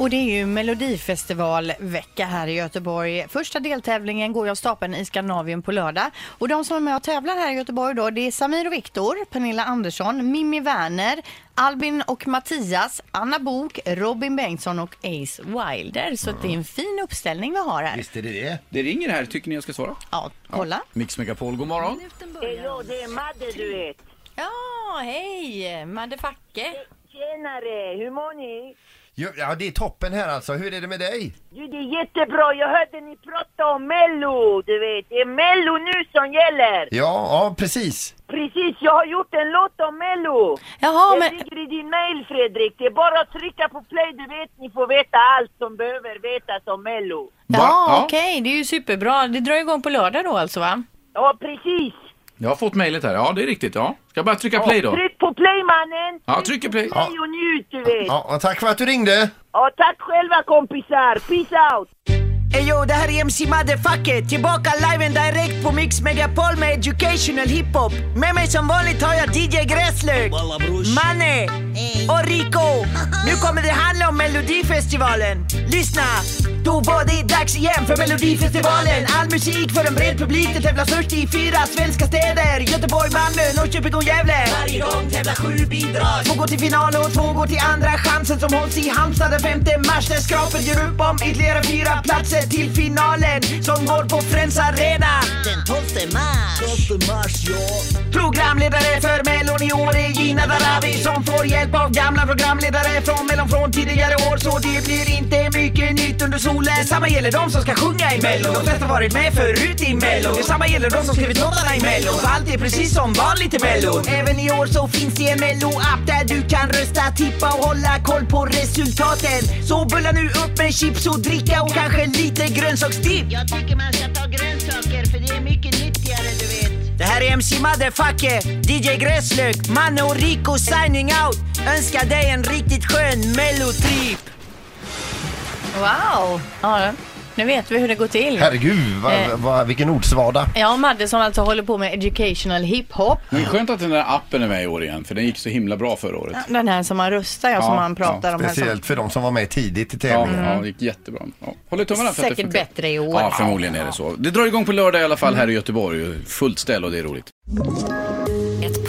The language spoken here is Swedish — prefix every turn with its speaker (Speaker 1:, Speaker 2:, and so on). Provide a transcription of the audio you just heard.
Speaker 1: Och det är ju Melodifestivalvecka här i Göteborg. Första deltävlingen går av stapeln i Skandinavien på lördag. Och de som är med och tävlar här i Göteborg då, det är Samir och Viktor, Pernilla Andersson, Mimmi Werner, Albin och Mattias, Anna Bok, Robin Bengtsson och Ace Wilder. Så att det är en fin uppställning vi har här.
Speaker 2: Visst är det det.
Speaker 3: Det ringer här. Tycker ni jag ska svara?
Speaker 1: Ja, kolla.
Speaker 3: Mix Megapol, god morgon.
Speaker 4: Det är jag, det är Madde du vet.
Speaker 1: Ja, hej! Madde Facke.
Speaker 4: Tjenare, hur mår ni?
Speaker 2: Jo, Ja, det är toppen här alltså. Hur är det med dig?
Speaker 4: Du, det är jättebra. Jag hörde ni prata om Mello, du vet. Det är Mello nu som gäller.
Speaker 2: Ja, ja precis.
Speaker 4: Precis, jag har gjort en låt om Mello.
Speaker 1: Jaha,
Speaker 4: det
Speaker 1: men...
Speaker 4: ligger i din mail, Fredrik. Det är bara att trycka på play, du vet. Ni får veta allt som behöver vetas om Mello.
Speaker 1: Ja, okej. Det är ju superbra. Det drar igång på lördag då alltså, va?
Speaker 4: Ja, precis.
Speaker 3: Jag har fått mejlet här. Ja, det är riktigt. Ja. Ska bara trycka play då.
Speaker 4: Tryck på play, mannen.
Speaker 3: Ja, trycker
Speaker 4: på
Speaker 3: play.
Speaker 4: Play och njut, du vet.
Speaker 2: Ja, och tack för att du ringde.
Speaker 4: Ja, tack själva, kompisar. Peace out.
Speaker 5: Eyo, det här är MC Motherfucker, tillbaka live and direkt på Mix Megapol med educational hiphop. Med mig som vanligt har jag DJ Gräslök, Manne och Rico. Nu kommer det handla om Melodifestivalen. Lyssna! Då var det dags igen för Melodifestivalen. All musik för en bred publik. Det tävlar först i fyra svenska städer. Göteborg, Malmö, Norrköping och Gävle. Varje gång tävlar sju bidrag. Två går till final och två går till andra chansen som hålls i Halmstad den 5 mars. Där skrapen gör upp om ytterligare fyra platser till finalen som går på Friends Arena.
Speaker 6: Den 12 mars.
Speaker 5: Programledare för Mellon i år är Gina Darawi som får hjälp av gamla programledare från Mellon från tidigare år så det blir inte mycket nytt under solen. Detsamma gäller de som ska sjunga i Mellon. De flesta har varit med förut i Mellon. Detsamma gäller de som skrivit låtarna i Mellon. Så allt är precis som vanligt i Mellon. Även i år så finns det en Mello-app där du kan rösta, tippa och hålla koll på resultaten. Så bulla nu upp med chips och dricka och kanske lite grönsakstipp.
Speaker 6: Jag tycker man ska ta grönsaker för det är mycket nyttigare du vet.
Speaker 5: Det här är MC Motherfucker, DJ Gräslök, Manne och Rico signing out. Önskar dig en riktigt skön mellotrip.
Speaker 1: Wow! Ja, nu vet vi hur det går till.
Speaker 2: Herregud, va,
Speaker 1: Eh.
Speaker 2: va, vilken ordsvada.
Speaker 1: Ja, Madde som alltså håller på med educational hiphop.
Speaker 3: Men skönt att den där appen är med i år igen, för den gick så himla bra förra året.
Speaker 1: Den här som man röstar, ja, som
Speaker 3: Ja,
Speaker 1: man pratar om. Här, som
Speaker 2: Speciellt för de som var med tidigt i
Speaker 3: Ja,
Speaker 2: tävlingen.
Speaker 3: ja, det gick jättebra. Ja. Håller tummarna för att det
Speaker 1: säkert
Speaker 3: funkar.
Speaker 1: bättre i år.
Speaker 3: Ja, förmodligen är det så. Det drar igång på lördag i alla fall här i Göteborg. Fullt ställ och det är roligt.
Speaker 7: Ett